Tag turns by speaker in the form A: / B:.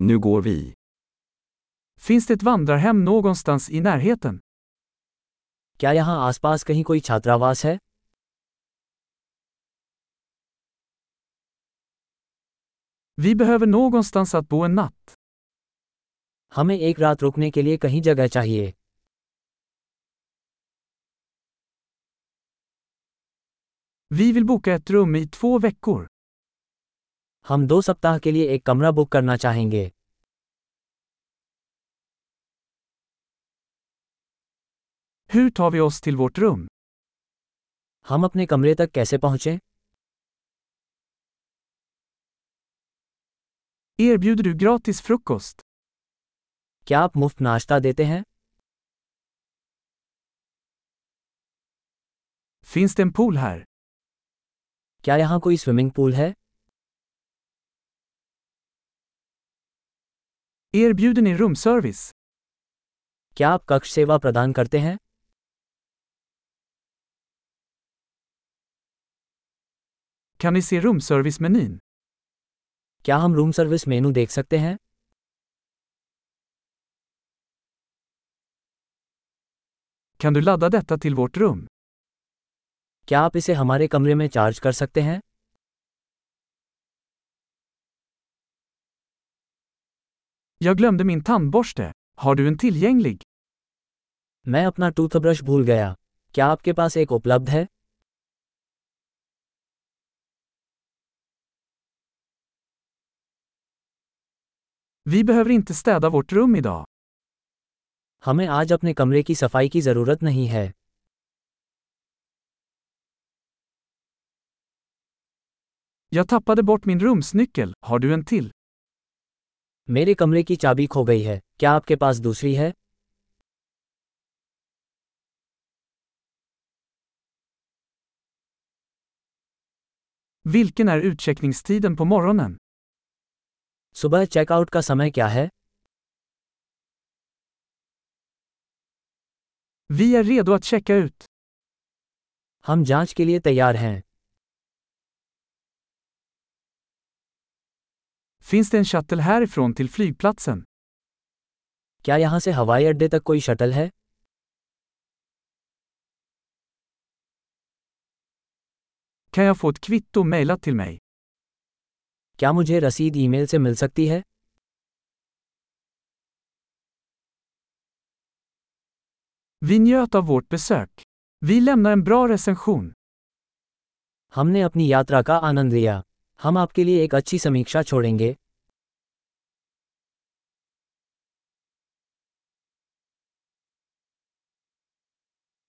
A: Nu går vi.
B: Finns det ett vandrarhem någonstans i närheten?
C: क्या यहाँ आसपास कहीं कोई छात्रावास है
B: Vi behöver någonstans att bo en natt.
C: हमें एक रात रुकने के लिए कहीं जगह चाहिए
B: Vi vill boka ett rum i två veckor.
C: हम दो सप्ताह के लिए एक कमरा बुक करना चाहेंगे
B: Hur tar vi oss till vårt rum?
C: हम अपने कमरे तक कैसे पहुँचें
B: Erbjuder du gratis frukost?
C: क्या आप मुफ्त नाश्ता देते हैं
B: Finns det en pool här?
C: क्या यहाँ कोई स्विमिंग पूल है
B: Erbjuder ni rumservice?
C: क्या आप कक्ष सेवा प्रदान करते हैं
B: Kan ni se rumservice-menyn?
C: क्या हम रूम सर्विस मेनू देख सकते हैं
B: Kan du ladda detta till vårt rum?
C: क्या आप इसे हमारे कमरे में चार्ज कर सकते हैं
B: Jag glömde min tandborste. Har du en tillgänglig?
C: मैं अपना टूथब्रश भूल गया क्या आपके पास एक उपलब्ध है
B: Vi behöver inte städa vårt rum idag.
C: हमें आज अपने कमरे की सफाई की ज़रूरत नहीं है
B: Jag tappade bort min rumsnyckel. Har du en till?
C: मेरे कमरे की चाबी खो गई है क्या आपके पास दूसरी है
B: Vilken är utcheckningstiden på morgonen?
C: सुबह चेकआउट का समय क्या है
B: Vi är redo att checka ut.
C: हम जांच के लिए तैयार हैं
B: Finns det en shuttle härifrån till flygplatsen?
C: क्या यहाँ से हवाई अड्डे तक कोई शटल है
B: Kan jag få ett kvitto mejlat till mig?
C: क्या मुझे रसीद ईमेल से मिल सकती है
B: Vi njöt av vårt besök. Vi lämnar en bra recension.
C: हमने अपनी यात्रा का आनंद लिया हम आपके लिए एक अच्छी समीक्षा छोड़ेंगे